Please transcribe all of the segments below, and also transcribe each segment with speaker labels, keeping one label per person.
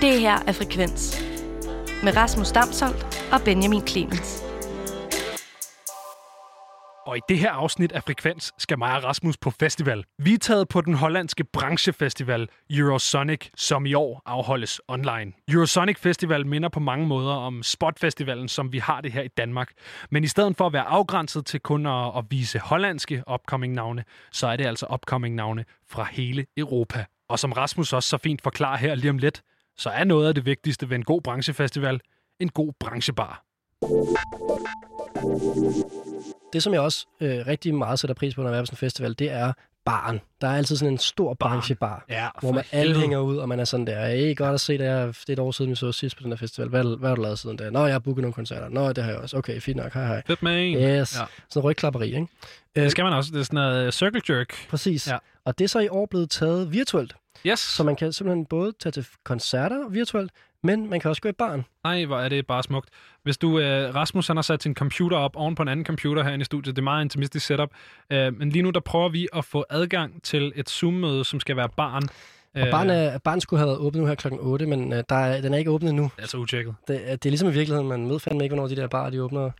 Speaker 1: Det her er Frekvens med Rasmus Damsholdt og Benjamin Clemens.
Speaker 2: Og i det her afsnit af Frekvens skal mig og Rasmus på festival. Vi er taget på den hollandske branchefestival Eurosonic, som i år afholdes online. Eurosonic Festival minder på mange måder om Spotfestivalen, som vi har det her i Danmark. Men i stedet for at være afgrænset til kun at, at vise hollandske upcoming-navne, så er det altså upcoming-navne fra hele Europa. Og som Rasmus også så fint forklarer her lige om lidt, så er noget af det vigtigste ved en god branchefestival en god branchebar.
Speaker 3: Det, som jeg også øh, rigtig meget sætter pris på, når jeg er på sådan en festival, det er baren. Der er altid sådan en stor branchebar,
Speaker 2: Ja,
Speaker 3: hvor man alle hænger ud, og man er sådan der, hey, godt at se dig, det er et år siden, vi så sidst på den der festival. Hvad, hvad har du lavet siden da? Nå, jeg har booket nogle koncerter. Nå, det har jeg også. Okay, fint nok, hej hej.
Speaker 2: Fedt med en.
Speaker 3: Yes.
Speaker 2: Ja.
Speaker 3: Ja. Sådan rygklapperi, ikke?
Speaker 2: Det skal man også. Det er sådan noget øh, circle jerk.
Speaker 3: Præcis.
Speaker 2: Ja.
Speaker 3: Ja. Og det er så i år blevet taget virtuelt,
Speaker 2: Yes.
Speaker 3: så man kan simpelthen både tage til koncerter virtuelt, men man kan også gå i baren.
Speaker 2: Nej, hvor er det bare smukt. Hvis du, øh, Rasmus, han har sat sin computer op oven på en anden computer herinde i studiet. Det er meget intimistisk setup. Øh, men lige nu, der prøver vi at få adgang til et Zoom-møde, som skal være barn. Øh,
Speaker 3: Og baren, er, baren skulle have været åbnet nu her klokken 8, men øh, der er, den er ikke åbnet nu.
Speaker 2: Altså utjekket.
Speaker 3: Det, er- det er ligesom i virkeligheden, man ved fandme ikke, hvornår de der barer, de åbner.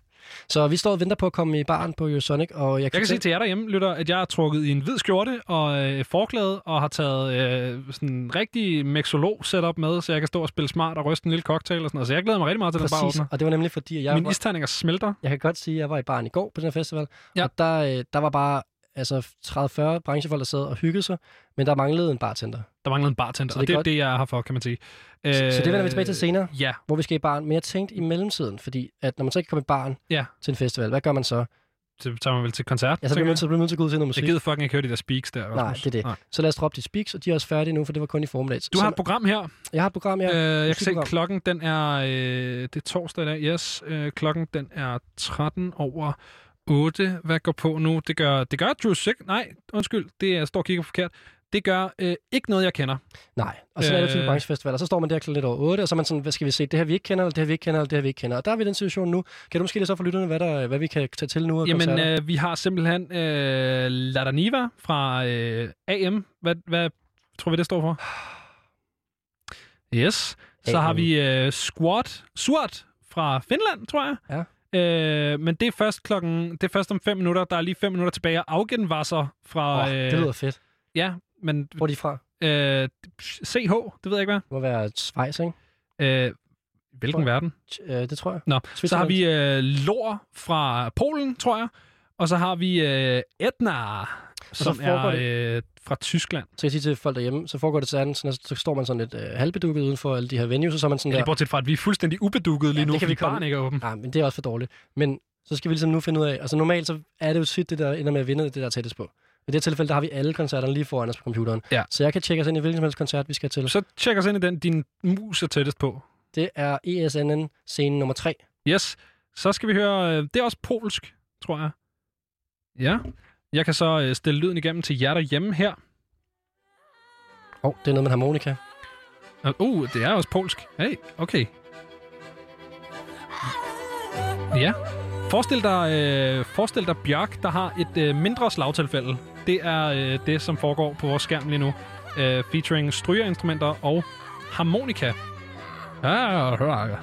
Speaker 3: Så vi står og venter på at komme i baren på Eurosonic, og jeg kan,
Speaker 2: Jeg kan sige til jer derhjemme, lytter, at jeg har trukket i en hvid skjorte og øh, forklæde, og har taget øh, sådan en rigtig mexolog setup med, så jeg kan stå og spille smart og ryste en lille cocktail og sådan noget. Så jeg glæder mig rigtig meget til, at den bare
Speaker 3: præcis,
Speaker 2: åbner.
Speaker 3: og det var nemlig fordi, at jeg,
Speaker 2: Mine
Speaker 3: var,
Speaker 2: isterninger smelter.
Speaker 3: jeg kan godt sige, at jeg var i baren i går på den her festival,
Speaker 2: Ja.
Speaker 3: ja. og der, øh, der var bare altså 30-40 branchefolk, der sad og hyggede sig, men der manglede en bartender.
Speaker 2: Der mangler en bartender,
Speaker 3: Så
Speaker 2: og
Speaker 3: det
Speaker 2: det
Speaker 3: er
Speaker 2: er
Speaker 3: godt.
Speaker 2: det, jeg er her for, kan man sige. Øh,
Speaker 3: så det vender vi tilbage til senere.
Speaker 2: Ja,
Speaker 3: hvor vi skal i baren. Men jeg tænkte i mellemtiden, fordi at når man så ikke kommer i baren
Speaker 2: Ja.
Speaker 3: til en festival, hvad gør man så?
Speaker 2: det tager man vel til koncert.
Speaker 3: Ja,
Speaker 2: tænker
Speaker 3: så bliver man, så bliver man nødt til at gå ud til noget
Speaker 2: Jeg
Speaker 3: musik.
Speaker 2: gider fucking ikke høre de der speaks der.
Speaker 3: Nej, det er det. Så lad os droppe de speaks, og de er også færdige nu, for det var kun i formiddags.
Speaker 2: Du har et
Speaker 3: så,
Speaker 2: program her.
Speaker 3: jeg har et program, jeg...
Speaker 2: Ja, øh, jeg kan se,
Speaker 3: musikprogram.
Speaker 2: klokken den er... Øh, det er torsdag i dag, yes. Øh, klokken den er 13 over 8. Hvad går på nu? Det gør, det gør Drew Sick. Nej, undskyld. Det er, jeg står og kigger forkert. Det gør øh, ikke noget, jeg kender.
Speaker 3: Nej, og så er det
Speaker 2: øh,
Speaker 3: til branchefestivaler. Så står man der klokken lidt over 8, og så er man sådan, hvad skal vi se? Det her vi ikke kender, eller det her vi ikke kender, eller det her vi ikke kender. Og der er vi i den situation nu. Kan du måske lige så for lytterne, hvad, der, hvad vi kan tage til nu? af
Speaker 2: Jamen,
Speaker 3: koncerter?
Speaker 2: øh, vi har simpelthen øh, Ladaniva fra øh, AM. Hvad, hvad tror vi, det står for? Yes. Så har
Speaker 3: AM.
Speaker 2: vi øh, Squat Surt fra Finland, tror jeg.
Speaker 3: Ja.
Speaker 2: Øh, men det er først klokken, det er først om 5 minutter. Der er lige 5 minutter tilbage. Og Augenwasser fra... øh,
Speaker 3: Åh, det lyder fedt.
Speaker 2: Ja, men
Speaker 3: Hvor er de fra?
Speaker 2: øh, CH, det ved jeg ikke
Speaker 3: Det må være Schweiz, ikke?
Speaker 2: hvad. Øh, hvilken
Speaker 3: Tror jeg.
Speaker 2: verden?
Speaker 3: Ch- øh, det tror jeg.
Speaker 2: Nå, så har
Speaker 3: Switzerland.
Speaker 2: vi øh, Lor fra Polen, tror jeg. Og så har vi øh, Etna, som er
Speaker 3: foregår
Speaker 2: øh, fra Tyskland.
Speaker 3: Så jeg siger til folk derhjemme, så foregår det sådan, sådan at så står man sådan lidt øh, halvbedukket uden for alle de her venues, og så er man
Speaker 2: Ja.
Speaker 3: sådan der...
Speaker 2: Lige Altså, bortset fra, at vi er fuldstændig ubedukket lige
Speaker 3: Ja,
Speaker 2: nu,
Speaker 3: det kan
Speaker 2: fordi
Speaker 3: vi komme-
Speaker 2: barn ikke er åben.
Speaker 3: Nej, men det er også for dårligt. Men så skal vi ligesom nu finde ud af, altså normalt så er det jo tit det, der ender med at vinde, det der er tættest på. I det her tilfælde, der har vi alle koncerterne lige foran os på computeren.
Speaker 2: Ja.
Speaker 3: Så jeg kan tjekke os ind i hvilken som helst koncert, vi skal til.
Speaker 2: Så tjek os ind i den, din mus er tættest på.
Speaker 3: Det er E ESNN scene nummer 3.
Speaker 2: Yes, så skal vi høre, øh, det er også polsk, tror jeg. Ja, jeg kan så øh, stille lyden igennem til jer derhjemme her.
Speaker 3: Åh, oh, det er noget med en harmonika.
Speaker 2: Og, Uh, det er også polsk. Hey, okay. Ja. Forestil dig, øh, forestil dig Bjørk, der har et øh, mindre slagtilfælde. Det er øh, det, som foregår på vores skærm lige nu. Øh, featuring strygerinstrumenter og harmonika. Ja, ja, ja, ja.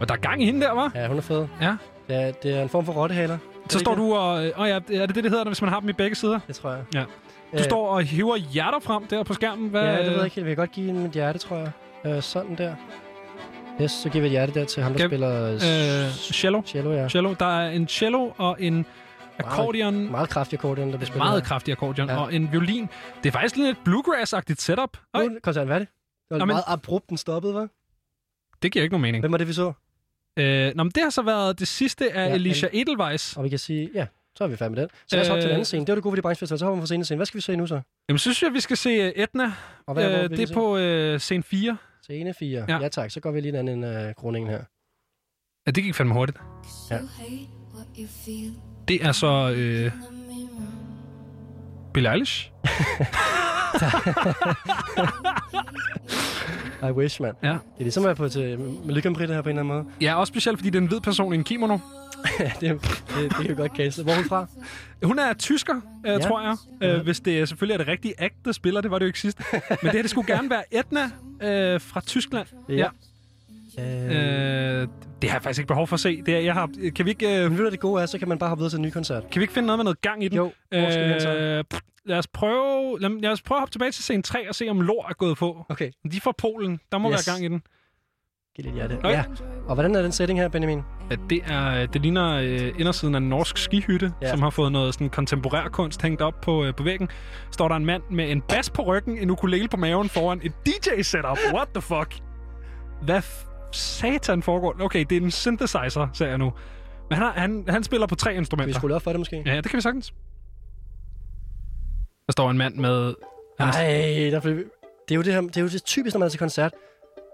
Speaker 2: Og der er gang i hende der, var.
Speaker 3: Ja, hun er fed.
Speaker 2: Ja.
Speaker 3: ja det er en form for rottehaler.
Speaker 2: Så står du og... Øh, åh ja, er det det, det hedder, hvis man har dem i begge sider?
Speaker 3: Det tror jeg.
Speaker 2: Ja. Du
Speaker 3: Øh,
Speaker 2: står og hiver hjerter frem der på skærmen. Hvad,
Speaker 3: Ja, det ved jeg ikke helt. Vi kan godt give hende et hjerte, tror jeg. Øh, sådan der. Yes, så giver vi et hjerte der til ham, der
Speaker 2: Kan-
Speaker 3: spiller øh,
Speaker 2: Øh, cello.
Speaker 3: cello, ja.
Speaker 2: cello. Der er en cello og en accordion
Speaker 3: Meget kraftig akkordeon, der bliver spillet.
Speaker 2: Meget kraftig akkordeon ja.
Speaker 3: Ja.
Speaker 2: og en violin. Det er faktisk lidt et bluegrass-agtigt setup. Øj,
Speaker 3: kraftig. Koncerten, hvad er det? Det var
Speaker 2: Nå, men-
Speaker 3: meget abrupt, den stoppede, hva'?
Speaker 2: det giver ikke nogen mening.
Speaker 3: Hvem var det, vi så?
Speaker 2: Øh, nå, men det har så været det sidste af ja,
Speaker 3: Ja,
Speaker 2: Alicia Edelweiss.
Speaker 3: Og vi kan sige, ja, så er vi færdige med den. Så lad os
Speaker 2: Øh,
Speaker 3: hoppe til den anden scene. Det var det gode ved de branchefestivaler. Så hopper vi fra scene til scene. Hvad skal vi se nu så?
Speaker 2: Jamen, så synes jeg, vi skal se øh, Etna.
Speaker 3: Og hvad hvor
Speaker 2: Øh,
Speaker 3: vil vi
Speaker 2: det er
Speaker 3: se?
Speaker 2: på øh, scene 4.
Speaker 3: Scene 4.
Speaker 2: Ja.
Speaker 3: Ja. ja tak, så går vi lige den anden øh, kroningen her.
Speaker 2: Ja, det gik fandme hurtigt.
Speaker 3: Ja.
Speaker 2: Det er så øh, Billie Eilish.
Speaker 3: I wish, mand.
Speaker 2: Ja.
Speaker 3: Det er ligesom at være på til øh, med lykkeompritter her på en eller anden måde.
Speaker 2: ja, også specielt, fordi det er en hvid person i en kimono.
Speaker 3: det, det, det kan vi godt cancel. Hvor er hun fra?
Speaker 2: Hun er tysker, øh, ja.
Speaker 3: Ja.
Speaker 2: tror jeg. Øh, hvis det er, selvfølgelig er det rigtige act, der spiller. Det var det jo ikke sidst. Men det her, det skulle gerne være Edna øh, fra Tyskland.
Speaker 3: Ja. Øh,
Speaker 2: Øh, det har jeg faktisk ikke behov for at se. Det er, jeg har, kan, vi ikke, øh,
Speaker 3: men ved du, hvad det gode er? Så kan man bare hoppe videre til en ny koncert.
Speaker 2: kan vi ikke finde noget med noget gang i den?
Speaker 3: Jo, hvor skal vi hen så?
Speaker 2: øh, pff, lad os prøve, lad, lad os prøve at hoppe tilbage til scene 3 og se, om lort er gået på.
Speaker 3: Okay,
Speaker 2: De er fra Polen. Der må yes.
Speaker 3: Yes.
Speaker 2: være gang i den.
Speaker 3: giv lidt hjerte.
Speaker 2: Okay.
Speaker 3: Ja. Og hvordan er den setting her, Benjamin?
Speaker 2: at det, er, det ligner øh, indersiden af en norsk skihytte, ja.
Speaker 3: Ja.
Speaker 2: som har fået noget sådan kontemporær kunst hængt op på, øh, på væggen. Står der en mand med en bas på ryggen, en ukulele på maven foran et DJ-setup. What the fuck? Hvad f- satan foregår? der? Okay, det er en synthesizer, ser jeg nu. Men han, har, han, han spiller på tre
Speaker 3: Kan vi
Speaker 2: instrumenter.
Speaker 3: skrue lidt op for det måske?
Speaker 2: Ja, det kan vi sagtens. Der står en mand med... Han er-
Speaker 3: Nej, der blev... Det er jo det, her, det er jo det typisk, når man er til koncert.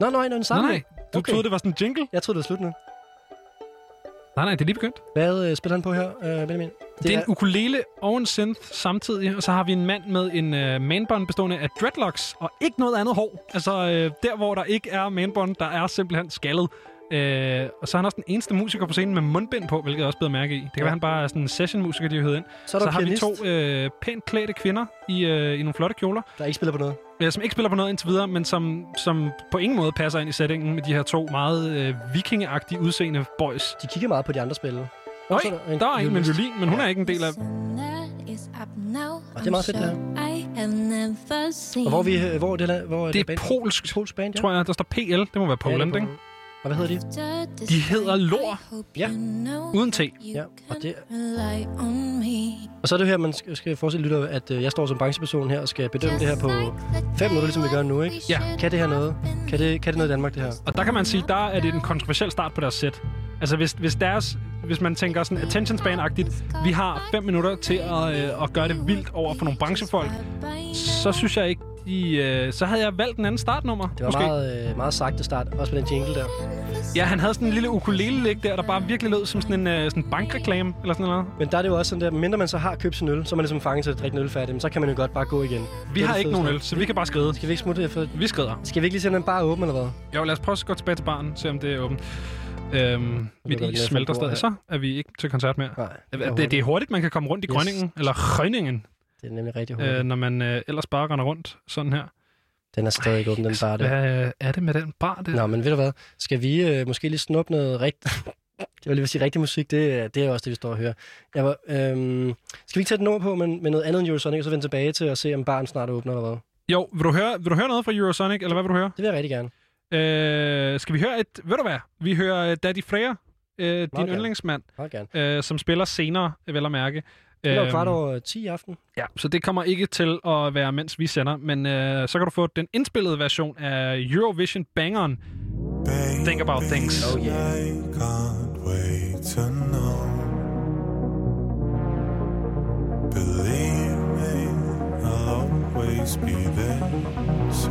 Speaker 3: Nå, nej, nå, en
Speaker 2: Nej,
Speaker 3: samling.
Speaker 2: nej. Du okay. troede, det var sådan en jingle?
Speaker 3: Jeg troede, det var slut nu.
Speaker 2: Nej, nej, det er lige begyndt.
Speaker 3: Hvad øh, spiller han på her, øh, Benjamin?
Speaker 2: Det, det er en ukulele og en synth samtidig, og så har vi en mand med en øh, manbånd bestående af dreadlocks og ikke noget andet hår. Altså øh, der, hvor der ikke er manbånd, der er simpelthen skaldet. Øh, og så er han også den eneste musiker på scenen med mundbind på, hvilket jeg også blev mærke i. Det kan
Speaker 3: Ja.
Speaker 2: være, han bare er sådan en sessionmusiker, de har hævet ind.
Speaker 3: så er der
Speaker 2: Så
Speaker 3: en
Speaker 2: har vi
Speaker 3: pianist,
Speaker 2: to øh, pænt klædte kvinder i, øh, i nogle flotte kjoler,
Speaker 3: der ikke spiller på noget.
Speaker 2: øh, som ikke spiller på noget indtil videre, men som, som på ingen måde passer ind i settingen med de her to meget øh, vikingeagtige udseende boys.
Speaker 3: De kigger meget på de andre spillere.
Speaker 2: Øj,
Speaker 3: så er der en
Speaker 2: der er en med
Speaker 3: violinist.
Speaker 2: violin, men hun er ikke en del af...
Speaker 3: Og det er meget fedt, det her. Og hvor er, vi, øh, hvor er det, la- hvor er
Speaker 2: Det
Speaker 3: det,
Speaker 2: er
Speaker 3: band?
Speaker 2: polsk,
Speaker 3: Polsk band, ja.
Speaker 2: tror jeg, der står PL. Det må være
Speaker 3: Ja, det er
Speaker 2: Poland, ikke?
Speaker 3: Og hvad hedder de?
Speaker 4: De hedder Lor.
Speaker 3: Ja.
Speaker 2: Uden T.
Speaker 3: Ja, og det-
Speaker 4: det...
Speaker 3: Og så er det her, man skal, skal forestille lytter, at øh, jeg står som brancheperson her og skal bedømme det her på fem minutter, ligesom vi gør nu, ikke?
Speaker 2: Ja.
Speaker 3: Kan det her noget? Kan det, kan det noget i Danmark, det her?
Speaker 2: Og der kan man sige, der er det en kontroversiel start på deres sæt. Altså hvis, hvis deres hvis man tænker sådan attention span-agtigt, vi har 5 minutter til at, øh, at gøre det vildt over for nogle branchefolk, så synes jeg ikke, de, øh, så havde jeg valgt en anden startnummer.
Speaker 3: Det var meget, øh, meget sagte start, også med den jingle der.
Speaker 2: Ja, han havde sådan en lille ukulele lig der, der bare virkelig lød som sådan en øh, sådan bankreklame eller sådan noget.
Speaker 3: Men der er det jo også sådan der, mindre man så har købt sin øl, så er man ligesom fanget til at drikke en øl færdig, men så kan man jo godt bare gå igen.
Speaker 2: Vi
Speaker 3: Det er
Speaker 2: har
Speaker 3: det
Speaker 2: ikke nogen
Speaker 3: fedeste.
Speaker 2: øl, så vi kan bare skride.
Speaker 3: Skal vi ikke smutte for...
Speaker 2: Vi skrider.
Speaker 3: Skal vi ikke lige se den bare åben, eller hvad?
Speaker 2: Jo, lad os prøve at gå tilbage til baren, se om det er åbent. Øhm, mit
Speaker 3: vi
Speaker 2: is
Speaker 3: ned for
Speaker 2: smelter
Speaker 3: bordet
Speaker 2: stadig,
Speaker 3: her.
Speaker 2: så er vi ikke til koncert mere.
Speaker 3: Nej,
Speaker 2: Det, det er hurtigt, man kan komme rundt i
Speaker 3: Yes.
Speaker 2: Grønningen, eller Grønningen,
Speaker 3: det er nemlig rigtig hurtigt.
Speaker 2: øh,
Speaker 3: Øh,
Speaker 2: når man øh, ellers bare render rundt sådan her.
Speaker 3: den er stadig ikke åben, den bare der.
Speaker 2: Hvad øh, er det med den bar der?
Speaker 3: Nå, men ved du hvad? Skal vi øh, måske lige snuppe noget rigtigt... Jeg vil lige vil sige, rigtig musik, det, er- det er også det, vi står og hører. Jeg var, øhm, skal vi ikke tage den ord på men, med noget andet end Eurosonic, og så vende tilbage til at se, om baren snart åbner eller hvad?
Speaker 2: Jo, vil du, høre, vil du høre noget fra Eurosonic, eller hvad vil du høre?
Speaker 3: Det vil jeg rigtig gerne.
Speaker 2: Øh, skal vi høre et... Ved du hvad? Vi hører øh, Daddy Freja, øh, din
Speaker 3: gerne.
Speaker 2: yndlingsmand,
Speaker 3: Meget gerne.
Speaker 2: øh, som spiller senere, vel at mærke.
Speaker 3: Det er jo
Speaker 2: Øhm,
Speaker 3: kvart over 10 i aften.
Speaker 2: Ja, så det kommer ikke til at være, mens vi sender, men øh, så kan du få den indspillede version af Eurovision Bangeren, Think About Things.
Speaker 3: Oh yeah.
Speaker 5: I can't wait to know. Believe me, I'll always be there. So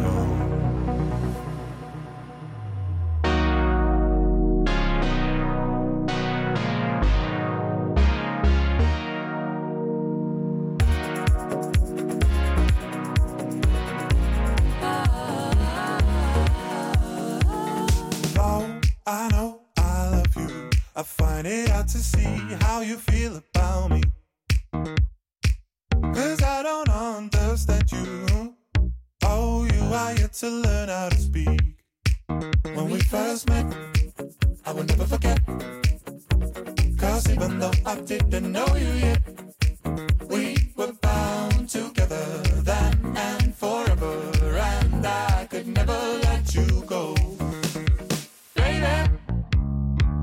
Speaker 5: oh, I know I love you. I find it hard to see how you feel about me. Cause I don't understand you. Oh, you are yet to learn how to speak. When we first met, I will never forget. Cause even though I didn't know you yet, we were bound together then and forever. And I could never let you go. Baby,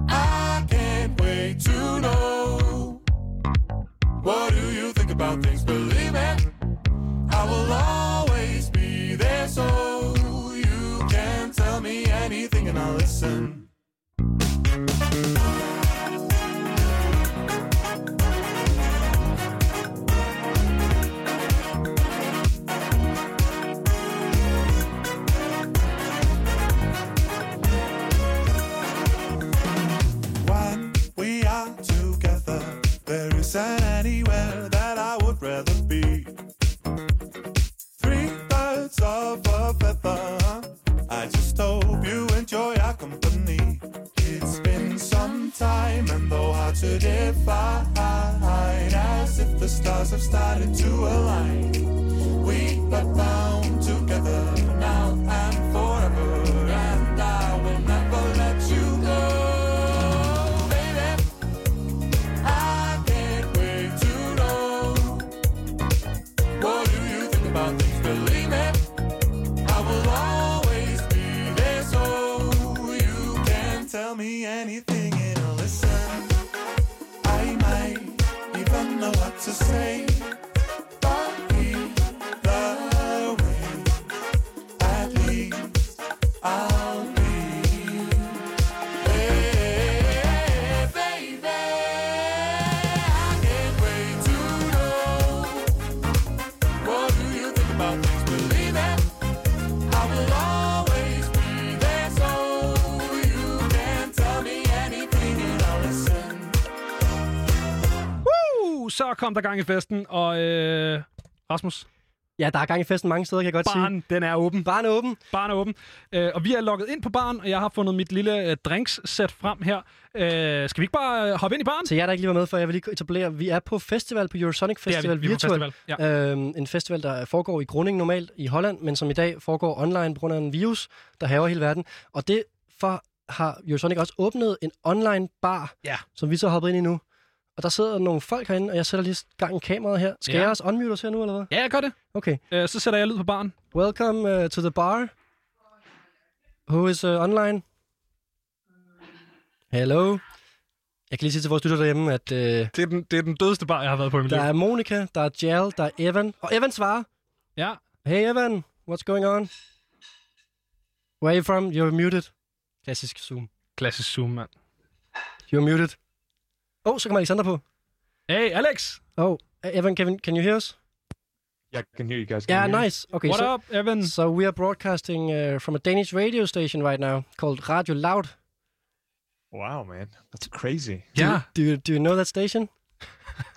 Speaker 5: I can't wait to know. What do you think about things? Believe it, I will always be there so you can tell me anything and I'll listen. When we are together, there isn't anywhere that I would rather be. Three birds of a feather. I just hope you enjoy our company. answered if I as if the stars have started to align. We are bound together now and forever, and I will never let you go, baby. I can't wait to know what do you think about things. Believe me, I will always be there, so you can tell me anything and I'll listen. I might even know what to say. But either way, at least I'll be there, baby. I can't wait to know. What do you think about things? Believe it. I will always be there, so you can tell me anything and I'll listen.
Speaker 2: Uh, så kom der gang i festen, og øh, Rasmus,
Speaker 3: Ja, der er gang i festen mange steder, kan jeg godt sige.
Speaker 2: baren, den er åben.
Speaker 3: Barn er åben.
Speaker 2: Baren er åben. Øh, og vi er logget ind på baren, og jeg har fundet mit lille øh, drinkssæt frem her. Øh, skal vi ikke bare øh, hoppe ind i baren?
Speaker 3: Til jer, der ikke lige var med for, jeg vil lige etablere, at vi er på festival, på Eurosonic
Speaker 2: Det er vi.
Speaker 3: Festival
Speaker 2: Vi er på
Speaker 3: virtuelt.
Speaker 2: festival,
Speaker 3: Ja. Øhm, en festival, der foregår i Groningen normalt i Holland, men som i dag foregår online på grund af en virus, der haver hele verden. Og det for har Eurosonic også åbnet en online bar,
Speaker 2: Ja.
Speaker 3: som vi så har hoppet ind i nu. Og der sidder nogle folk herinde, og jeg sætter lige gang i kameraet her. Skal
Speaker 2: Ja.
Speaker 3: ja. jeg også unmute os her nu, eller hvad?
Speaker 2: Ja, jeg gør det.
Speaker 3: Okay.
Speaker 2: Øh, så sætter jeg lyd på baren.
Speaker 3: Welcome uh, to the bar. Who is uh, online? Hello. Jeg kan lige sige til vores lytter derhjemme, at uh,
Speaker 2: Det er, den, det er den dødeste bar, jeg har været på i mit
Speaker 3: Der er Monika, der er Jal, der er Evan. Og Evan svarer,
Speaker 2: Ja.
Speaker 3: hey Evan, what's going on? Where are you from? You're muted. Klassisk Zoom.
Speaker 2: Klassisk Zoom, mand.
Speaker 3: You're muted. Åh, oh, så kommer Alexander på.
Speaker 2: Hey, Alex!
Speaker 3: Åh, oh, Evan, Kevin, can you hear us?
Speaker 6: I can hear you guys. Can you
Speaker 3: Yeah,
Speaker 6: hear me?
Speaker 3: nice. Okay,
Speaker 2: What
Speaker 3: so,
Speaker 2: up, Mm. Evan?
Speaker 3: so we are broadcasting uh, from a Danish radio station right now called Radio Loud.
Speaker 6: Wow, man, that's crazy.
Speaker 2: Ja.
Speaker 3: Do you, do you know that station?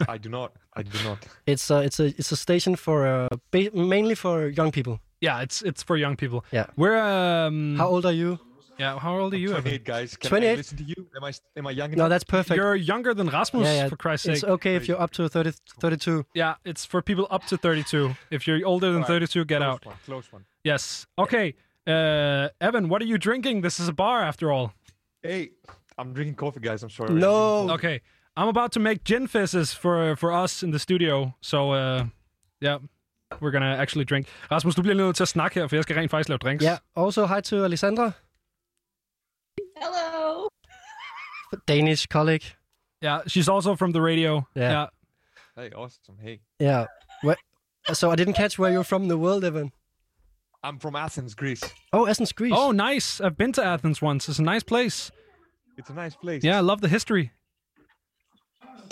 Speaker 6: I do not. I do not.
Speaker 3: It's a, it's a, it's a station for uh, ba- mainly for young people.
Speaker 2: Yeah, it's it's for young people.
Speaker 3: Yeah.
Speaker 2: We're um
Speaker 3: How old are you?
Speaker 2: yeah, how old are you, Evan?
Speaker 6: 28 guys. Can
Speaker 3: 28?
Speaker 6: I listen to you? Am I am I young
Speaker 3: No,
Speaker 6: enough?
Speaker 3: that's perfect.
Speaker 2: You're younger than Rasmus,
Speaker 3: Yeah, yeah,
Speaker 2: for Christ's sake.
Speaker 3: it's okay if you're up to 30, 32.
Speaker 2: yeah, it's for people up to 32. If you're older than
Speaker 6: Alright,
Speaker 2: 32, get
Speaker 6: close
Speaker 2: out.
Speaker 6: One, close one.
Speaker 2: Yes. Okay. Uh, Evan, what are you drinking? This is a bar after all.
Speaker 6: Hey, I'm drinking coffee, guys. I'm
Speaker 2: Mm.
Speaker 6: sorry.
Speaker 3: No.
Speaker 2: Okay. I'm about to make gin fizzes for for us in the studio. So uh, yeah, we're gonna actually drink. Rasmus, du bliver lige nødt til at snakke her, for jeg skal rent faktisk lave drinks.
Speaker 3: Yeah. Also, hi to Alexandra,
Speaker 7: Hello.
Speaker 3: Danish colleague.
Speaker 2: Yeah, she's also from the radio.
Speaker 3: Yeah.
Speaker 2: yeah.
Speaker 6: Hey, awesome. Hey,
Speaker 3: Yeah. Where, so I didn't er catch where you're from in the world, Evan.
Speaker 6: I'm from Athens, Greece.
Speaker 3: Oh, Athens, Greece.
Speaker 2: Oh, nice. I've been to Athens once. It's a nice place.
Speaker 6: It's a nice place.
Speaker 2: Yeah, I love the history.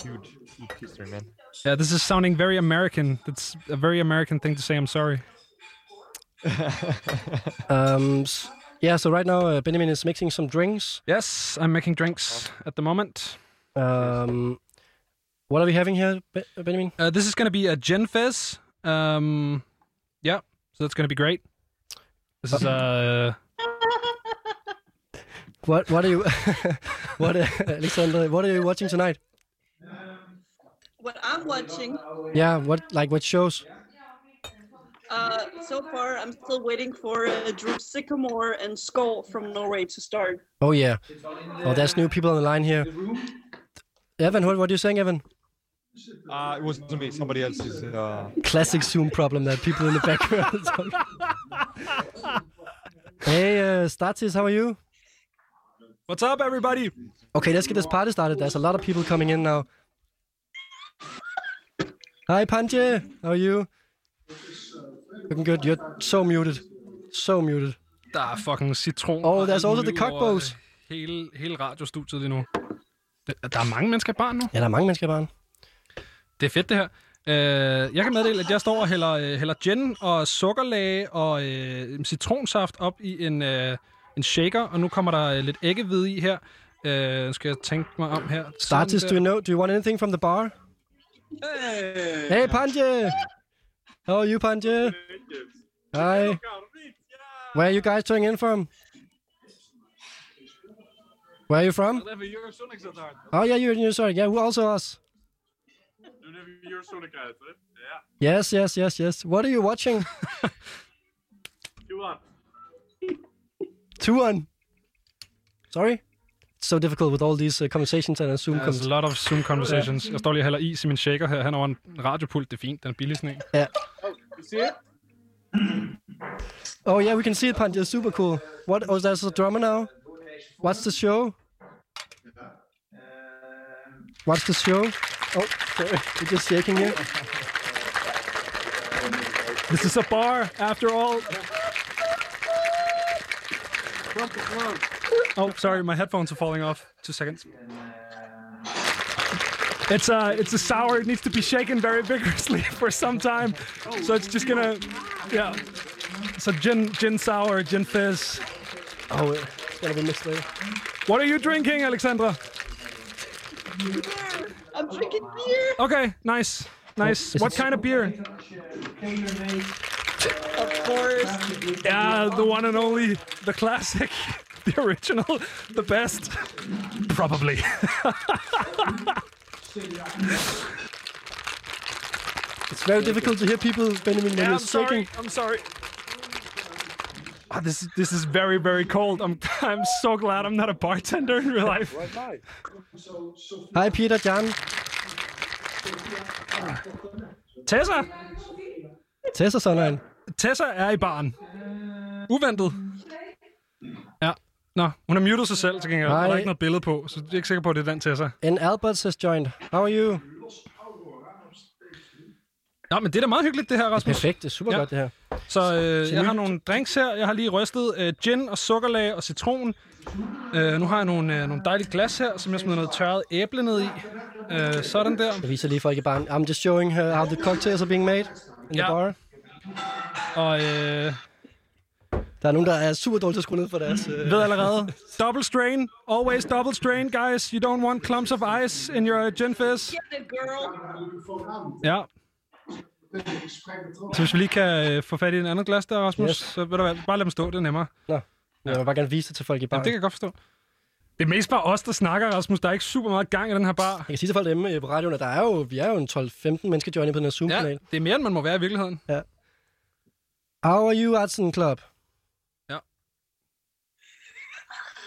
Speaker 6: huge, huge history, man.
Speaker 2: Yeah, this is sounding very American. That's a very American thing to say. I'm sorry.
Speaker 3: Um. s- yeah. So right now, uh, Benjamin is mixing some drinks.
Speaker 2: Yes, I'm making drinks at the moment.
Speaker 3: Um. What are we having here, Be- Benjamin?
Speaker 2: Uh, this is going to be a gin fizz. Um, yeah, so that's going to be great. This is uh,
Speaker 3: What What are you? what, uh, Alexandra? What are you watching tonight?
Speaker 7: What I'm watching,
Speaker 3: Yeah. What like what shows?
Speaker 7: uh, so far, I'm still waiting for uh, Drew Sycamore and Skull from Norway to start.
Speaker 3: Oh yeah. Oh, there's new people on the line here. Evan, what, what are you saying, Evan?
Speaker 6: Uh, it wasn't me. Somebody else is. Uh,
Speaker 3: Classic Zoom problem that people in the background. hey, uh, Statis, how are you?
Speaker 2: what's up, everybody?
Speaker 3: Okay, let's get this party started. There's a lot of people coming in now. Hi, Panje. How are you? Looking good. You're so muted. So muted.
Speaker 2: Der er fucking citron.
Speaker 3: Oh,
Speaker 2: og
Speaker 3: there's
Speaker 2: alt
Speaker 3: also
Speaker 2: muligt
Speaker 3: the
Speaker 2: over,
Speaker 3: cockbows.
Speaker 2: øh, Hele, hele radiostudiet lige nu. Der- Der er mange mennesker i barn nu.
Speaker 3: Ja, der er mange mennesker i baren.
Speaker 2: Det er fedt, det her. Øh, jeg kan meddele, at jeg står og hælder, øh, hælder gin og sukkerlage og øh, citronsaft op i en, øh, en shaker, og nu kommer der øh, lidt æggehvide i her. Øh, nu skal jeg tænke mig om her.
Speaker 3: Statis, do you know? Do you want anything from the bar? Hey, hey Panje. How are you, Panje? Hi. Where are you guys tuning in from? Where are you from?
Speaker 8: Whatever Eurosonics er daar.
Speaker 3: Oh yeah, you're you're sorry. Yeah, who also us?
Speaker 8: Doe even Eurosonic uit, hè? Ja.
Speaker 3: Yes, yes, yes, yes. What are you watching?
Speaker 8: Doe aan.
Speaker 3: Two one. Sorry. It's so difficult with all these uh, conversations and uh, Zoom
Speaker 2: There's a
Speaker 3: conversations.
Speaker 2: lot of Zoom conversations. Jeg står lige og hælder is i min shaker her hen over en radiopult. Det er fint, den er billig sådan en.
Speaker 3: Yeah.
Speaker 8: Zie je?
Speaker 3: Oh yeah, we can see it, Punch. It's super cool. What? Oh, there's a drummer now. What's the show? What's the show? Oh, sorry. We're just shaking you.
Speaker 2: This is a bar, after all. Oh, sorry, my headphones are falling off. Two seconds. It's a, it's a sour. It needs to be shaken very vigorously for some time. So it's just gonna, yeah. So gin, gin sour, gin fizz.
Speaker 3: Oh, it's gonna be mixed later.
Speaker 2: What are you drinking, Alexandra?
Speaker 7: Beer! I'm drinking beer!
Speaker 2: Okay, nice, nice.
Speaker 3: Is
Speaker 2: What
Speaker 3: it-
Speaker 2: kind of beer?
Speaker 7: Of course.
Speaker 2: Yeah, the one and only, the classic, the original, the best. Probably.
Speaker 3: It's very difficult to hear people, Benjamin, when
Speaker 2: Yeah,
Speaker 3: you're
Speaker 2: I'm sorry.
Speaker 3: shaking.
Speaker 2: I'm sorry. Ah, this this is very very cold. I'm I'm so glad I'm not a bartender in real life.
Speaker 3: Hi, Peter, Jan,
Speaker 2: Tessa,
Speaker 3: Tessa Sonheim.
Speaker 2: Tessa er i baren. Uventet. Ja. Nå, hun har muted sig selv til gengæld. og Der er
Speaker 3: Nej.
Speaker 2: ikke noget billede på, så jeg er ikke sikker på, at det er den Tessa.
Speaker 3: And Alberts has joined. How are you?
Speaker 2: Nå, men det er da meget hyggeligt, det her, Rasmus.
Speaker 3: Perfekt, det er super
Speaker 2: Ja.
Speaker 3: ja. godt det her.
Speaker 2: Så øh, jeg har nogle drinks her. Jeg har lige rystet øh, gin og sukkerlag og citron. Øh, nu har jeg nogle, øh, nogle dejlige glas her, som jeg smider noget tørret æble ned i. Øh, sådan der.
Speaker 3: Jeg viser lige folk i baren. I'm just showing her how the cocktails are being made in
Speaker 2: Ja.
Speaker 3: the bar.
Speaker 2: Og øh,
Speaker 3: Der er nogen, der er super dårlige til at skrue ned for deres... Øh...
Speaker 2: ved allerede, double strain. Always double strain, guys. You don't want clumps of ice in your gin fizz.
Speaker 7: Get it, girl.
Speaker 2: Ja. Så hvis vi lige kan øh, få fat i en anden glas der, Rasmus, yes.
Speaker 3: Yes.
Speaker 2: så ved du hvad, bare lad dem stå, det er nemmere.
Speaker 3: Nå, jeg vil bare gerne vise det til folk i baren.
Speaker 2: Jamen, det kan jeg godt forstå. Det er mest bare os, der snakker, Rasmus. Der er ikke super meget gang i den her bar.
Speaker 3: Jeg kan sige til folk hjemme øh, på radioen, at der er jo, vi er jo en 12-15 mennesker joinet på den her
Speaker 2: Ja,
Speaker 3: Zoom-kanal.
Speaker 2: det er mere, end man må være i virkeligheden.
Speaker 3: How are you, Artsen Club?
Speaker 2: Ja.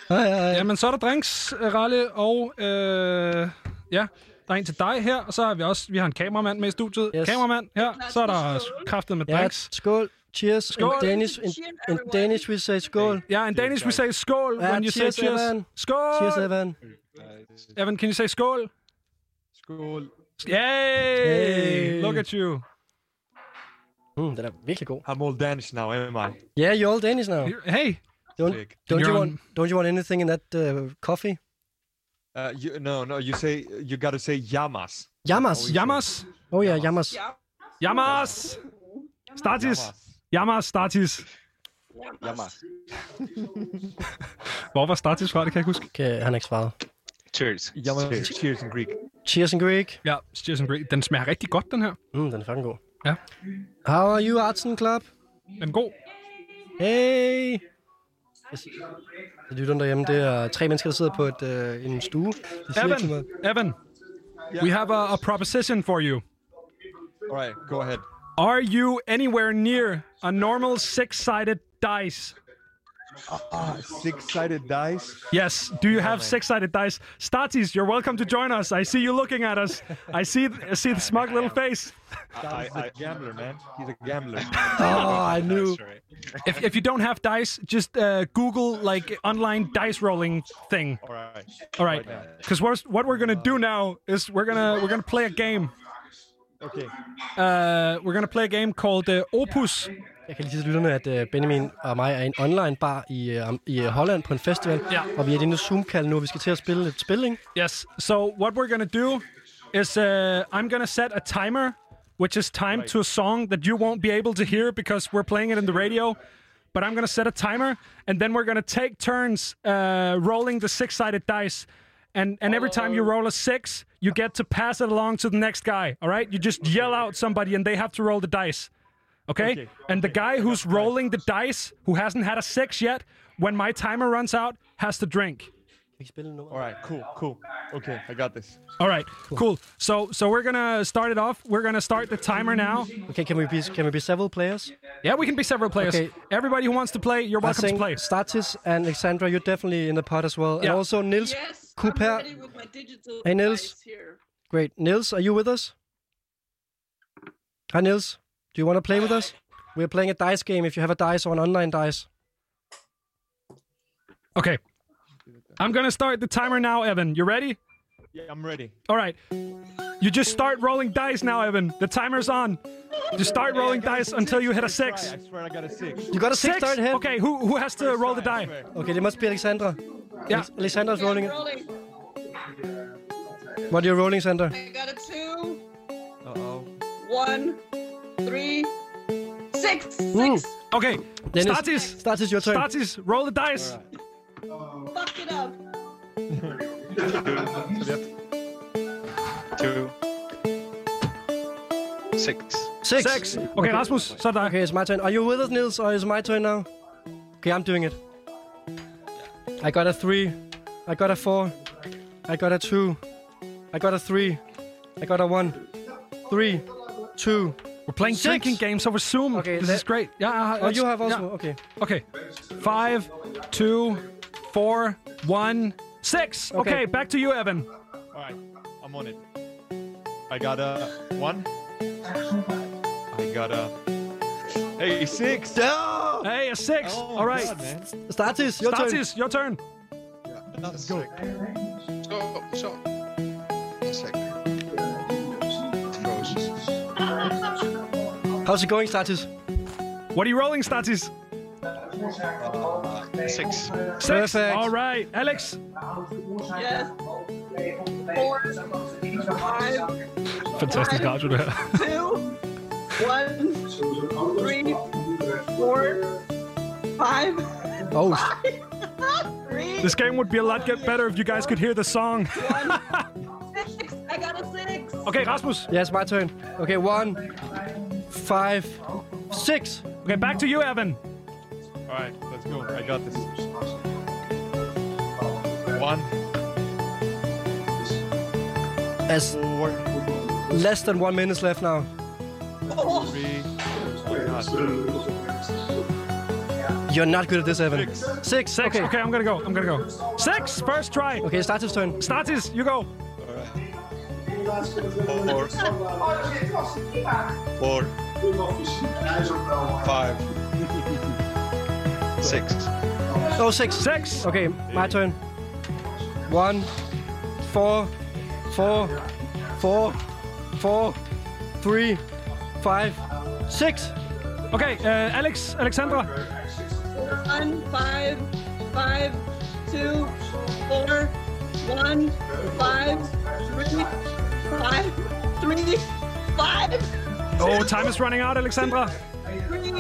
Speaker 3: Hej, hej.
Speaker 2: Jamen, så er der drinks, øh, Ralle, og øh, ja, der er en til dig her, og så har vi også, vi har en kameramand med i studiet. Yes.
Speaker 3: Yes.
Speaker 2: Kameramand her, så er der
Speaker 7: Skål.
Speaker 2: kraftet med
Speaker 3: Ja,
Speaker 2: drinks.
Speaker 3: skål. Cheers.
Speaker 2: Skål.
Speaker 3: In Danish, in,
Speaker 7: Cheers,
Speaker 3: in
Speaker 7: everyone.
Speaker 3: Danish we say skål.
Speaker 2: Ja, in Danish we say skål,
Speaker 3: Ja,
Speaker 2: when you
Speaker 3: cheers,
Speaker 2: say cheers.
Speaker 3: Evan.
Speaker 2: Skål!
Speaker 3: Cheers, Evan.
Speaker 2: Evan, can you say skål?
Speaker 6: Skål.
Speaker 2: Sk- Yay!
Speaker 3: Hey.
Speaker 2: Look at you.
Speaker 3: Mm, den er virkelig god.
Speaker 6: I'm all Danish now, am I?
Speaker 3: Yeah, you're all Danish now.
Speaker 2: Hey,
Speaker 3: Don't,
Speaker 6: Sick.
Speaker 3: don't, you,
Speaker 2: You're
Speaker 3: want, don't you want anything in that uh, coffee?
Speaker 6: Uh, you, no, no, you say, you gotta say yamas.
Speaker 3: Jammers.
Speaker 2: Yamas.
Speaker 3: Oh ja, jammers.
Speaker 7: Yeah.
Speaker 2: Yamas! Startis.
Speaker 6: Yamas.
Speaker 2: Yamas, Startis.
Speaker 6: Yamas.
Speaker 2: Hvor var Startis fra, det kan jeg ikke huske.
Speaker 3: Okay, han har ikke svaret.
Speaker 9: Cheers.
Speaker 6: Yamas. Cheers in Greek.
Speaker 3: Cheers in Greek.
Speaker 2: Ja, cheers and great. Den smager rigtig godt, den her.
Speaker 3: Mm, den er fucking god.
Speaker 2: Ja.
Speaker 3: How are you, Artsen Club?
Speaker 2: Den er god.
Speaker 3: Hey! Yes. Lytterne derhjemme, det er tre mennesker, der sidder på et, øh, en stue. Det siger ikke så
Speaker 2: Evan,
Speaker 3: meget.
Speaker 2: Evan, we have a, a proposition for you.
Speaker 6: All right, go ahead.
Speaker 2: Are you anywhere near a normal six-sided dice?
Speaker 6: Six-sided dice.
Speaker 2: Yes. Do you have six-sided dice? Statis, you're welcome to join us. I see you looking at us. I see I see the smug little face.
Speaker 6: I, I, gambler, man. He's a gambler.
Speaker 3: Oh, I knew.
Speaker 2: If, if you don't have dice, just uh, Google like online dice rolling thing.
Speaker 6: All right.
Speaker 2: All right. Because what we're gonna do now is we're gonna we're gonna play a game.
Speaker 6: Okay.
Speaker 2: Uh, we're gonna play a game called uh, Opus.
Speaker 3: Jeg kan lige sige til lytterne, at øh, Benjamin og mig er i en online bar i, øh, am- i øh, Holland på en festival.
Speaker 2: Ja.
Speaker 3: Og vi er i denne Zoom-kald nu, og vi skal til at spille et spil, ikke?
Speaker 2: Yes. So what we're gonna do is uh, I'm gonna set a timer, which is timed to a song that you won't be able to hear because we're playing it in the radio. But I'm gonna set a timer, and then we're gonna take turns uh, rolling the six-sided dice. And and every time you roll a six, you get to pass it along to the next guy. All right? You just yell out somebody, and they have to roll the dice. Okay? And the guy who's rolling the dice, who hasn't had a six yet, when my timer runs out, has to drink.
Speaker 3: Vi kan spille nummer.
Speaker 6: All right, cool, cool. Okay, I got this.
Speaker 2: All right, cool. So so we're gonna start it off. We're gonna start the timer now.
Speaker 3: Okay, can we be can we be several players?
Speaker 2: Yeah, we can be several players.
Speaker 3: Okay.
Speaker 2: Everybody who wants to play, you're welcome
Speaker 3: I
Speaker 2: to
Speaker 3: think
Speaker 2: play.
Speaker 3: Statis and Alexandra, you're definitely in the pot as well.
Speaker 2: Yeah.
Speaker 3: And also Nils.
Speaker 7: Yes,
Speaker 3: Cooper-
Speaker 7: I'm ready with my digital
Speaker 3: Hey, Niels.
Speaker 7: device here.
Speaker 3: Great. Nils, are you with us? Hi Nils. Do you want to play with us? We're playing a dice game if you have a dice or an online dice.
Speaker 2: Okay. I'm gonna start the timer now, Evan. You ready?
Speaker 6: Yeah, I'm ready.
Speaker 2: All right. You just start rolling dice now, Evan. The timer's on. Just start rolling dice until you hit a six.
Speaker 6: I swear I got a six.
Speaker 3: You got a six, dice here.
Speaker 2: Okay, who who has to roll the die?
Speaker 3: Okay, it must be Alexandra.
Speaker 2: Yeah.
Speaker 3: Alexandra's
Speaker 7: Okay,
Speaker 3: rolling
Speaker 7: I'm
Speaker 3: it.
Speaker 7: rolling.
Speaker 3: What are you rolling, Sandra?
Speaker 7: I got a two,
Speaker 6: Uh oh.
Speaker 7: one, three, six,
Speaker 3: Ooh.
Speaker 7: six.
Speaker 2: Okay,
Speaker 3: Dennis.
Speaker 2: Statis.
Speaker 3: Statis, your turn.
Speaker 2: Statis, roll the dice.
Speaker 7: Fuck it up.
Speaker 9: Two. Six.
Speaker 3: Six.
Speaker 2: Six. Okay, Rasmus, så er der.
Speaker 3: Okay, it's my turn. Are you with us, Nils, or is it my turn now? Okay, I'm doing it. I got a three. I got a four. I got a two. I got a three. I got a one. Three. Two.
Speaker 2: We're playing
Speaker 3: Six.
Speaker 2: drinking games over Zoom.
Speaker 3: Okay,
Speaker 2: this
Speaker 3: let-
Speaker 2: is great. Yeah. uh,
Speaker 3: Oh, you
Speaker 2: let's-
Speaker 3: have also.
Speaker 2: yeah.
Speaker 3: Okay.
Speaker 2: Okay. Five, two, four, one, six. Okay.
Speaker 3: Okay.
Speaker 2: back to you, Evan.
Speaker 6: All right, I'm on it. I got a one. I got a. Hey, six. No!
Speaker 2: Hey, a six.
Speaker 6: Oh,
Speaker 2: All right.
Speaker 6: God, man.
Speaker 3: Statis, your turn.
Speaker 2: Statis, your turn.
Speaker 6: Let's go.
Speaker 9: So, so. One second. It froze.
Speaker 3: How's it going, Statis?
Speaker 2: What are you rolling, Statis?
Speaker 9: Six.
Speaker 2: Six.
Speaker 3: Perfect.
Speaker 2: All right, Alex.
Speaker 7: Yes. Four, five,
Speaker 2: Fantastisk radio, det her.
Speaker 7: two, one, three, four, five,
Speaker 3: Oh,
Speaker 7: three,
Speaker 2: This game would be a lot get better if you guys could hear the song.
Speaker 7: six. I got a six.
Speaker 2: Okay, Rasmus.
Speaker 3: yes, my turn. Okay, one, five, six.
Speaker 2: Okay, back to you, Evan.
Speaker 6: All right, let's go. I got this. One,
Speaker 3: There's
Speaker 6: four,
Speaker 3: less than one minute left now.
Speaker 6: three. Oh
Speaker 3: You're not good at this, Evan.
Speaker 6: Six.
Speaker 3: Six.
Speaker 2: Six. Okay.
Speaker 3: Okay.
Speaker 2: I'm gonna go. I'm gonna go. Six. First try.
Speaker 3: Okay, Statis' turn.
Speaker 2: Statis, you go.
Speaker 9: Four. Four. Five. Six.
Speaker 3: Oh, six.
Speaker 2: Six.
Speaker 3: Okay, my turn. One, four, four, four, four, three, five, six.
Speaker 2: Okay, uh, Alex, Alexandra.
Speaker 7: One, five, five, two, four, one, five, three, five, three, five,
Speaker 2: Oh, time is running out, Alexandra.
Speaker 7: three,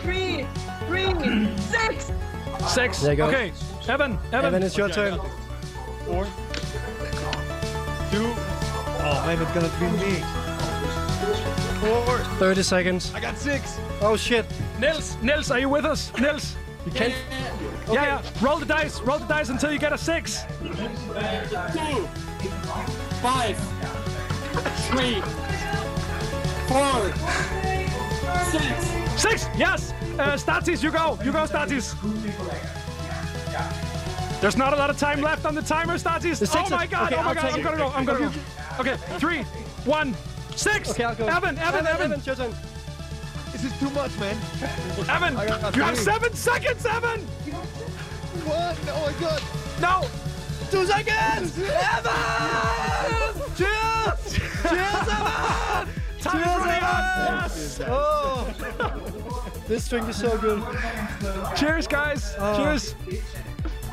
Speaker 7: three, three, six.
Speaker 2: Six.
Speaker 3: There you go.
Speaker 2: Okay, Evan, Evan.
Speaker 3: Evan, it's your turn.
Speaker 6: Four, two. Oh man, it's gonna be me. Four.
Speaker 3: 30 seconds.
Speaker 6: I got six.
Speaker 3: Oh, shit.
Speaker 2: Nils, Nils, are you with us? Nils.
Speaker 3: You can't.
Speaker 2: Yeah, yeah. Roll the dice. Roll the dice until you get a six.
Speaker 10: two, five, three, four, six.
Speaker 2: Six. Yes. Uh, Statis, you go. You go, Statis. There's not a lot of time left on the timer, Statis.
Speaker 3: It's
Speaker 2: Oh
Speaker 3: six.
Speaker 2: my god.
Speaker 3: Okay,
Speaker 2: oh my
Speaker 3: I'll
Speaker 2: god.
Speaker 3: take
Speaker 2: I'm
Speaker 3: it.
Speaker 2: gonna go. I'm gonna go. Okay. Three, one, six.
Speaker 3: Okay, I'll go.
Speaker 2: Evan, Evan, Evan,
Speaker 3: it's your turn.
Speaker 6: This is too much, man.
Speaker 2: Evan.
Speaker 6: I got
Speaker 2: You have
Speaker 6: three.
Speaker 2: seven seconds, Evan.
Speaker 6: One. Oh my god.
Speaker 2: No.
Speaker 6: Two seconds.
Speaker 2: Cheers. Cheers, Evan. Time is running out. Yes.
Speaker 3: Oh. this drink is so good.
Speaker 2: Cheers, guys. Cheers.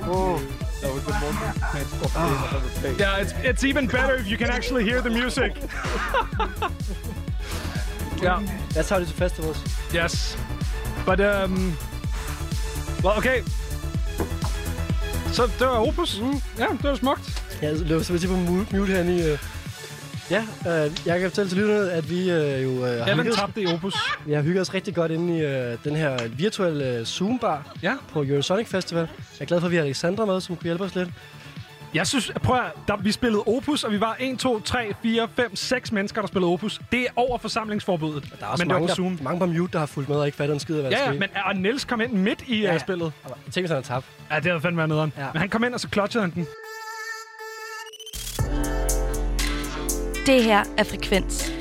Speaker 2: Oh.
Speaker 6: That was the most intense coffee I've ever played.
Speaker 2: Yeah, it's it's even better if you can actually hear the music. yeah.
Speaker 3: That's how to do festivals.
Speaker 2: Yes. But um Well, okay. Så det var Opus. Mm. Ja, det var smukt.
Speaker 3: Ja, så løber simpelthen på mute, mute herinde i... øh. Ja, øh, jeg kan fortælle til lytterne, at vi øh, jo øh, har,
Speaker 2: Evan
Speaker 3: hygget,
Speaker 2: tabte i Opus.
Speaker 3: vi har hygget os rigtig godt inde i øh, den her virtuelle øh, Zoom-bar
Speaker 2: Ja.
Speaker 3: på Eurosonic Festival. Jeg er glad for, at vi har Alexandra med, som kunne hjælpe os lidt.
Speaker 2: Jeg synes, prøv at, høre, der, vi spillede Opus, og vi var 1, 2, 3, 4, 5, 6 mennesker, der spillede Opus. Det er over forsamlingsforbuddet.
Speaker 3: Der er også
Speaker 2: men det
Speaker 3: mange,
Speaker 2: var på
Speaker 3: der,
Speaker 2: Zoom.
Speaker 3: mange på mute, der har fulgt med og ikke fatter en skid af, hvad der
Speaker 2: Ja, ja,
Speaker 3: skete.
Speaker 2: men og Niels kom ind midt i
Speaker 3: Ja.
Speaker 2: ja. spillet.
Speaker 3: Tænk, hvis han havde tabt.
Speaker 2: Ja, det havde fandme været nederen.
Speaker 3: Ja.
Speaker 2: Ja. Men han kom ind, og så clutchede han den.
Speaker 1: Det her er Frekvens.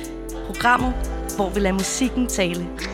Speaker 1: Programmet, hvor vi lader musikken tale.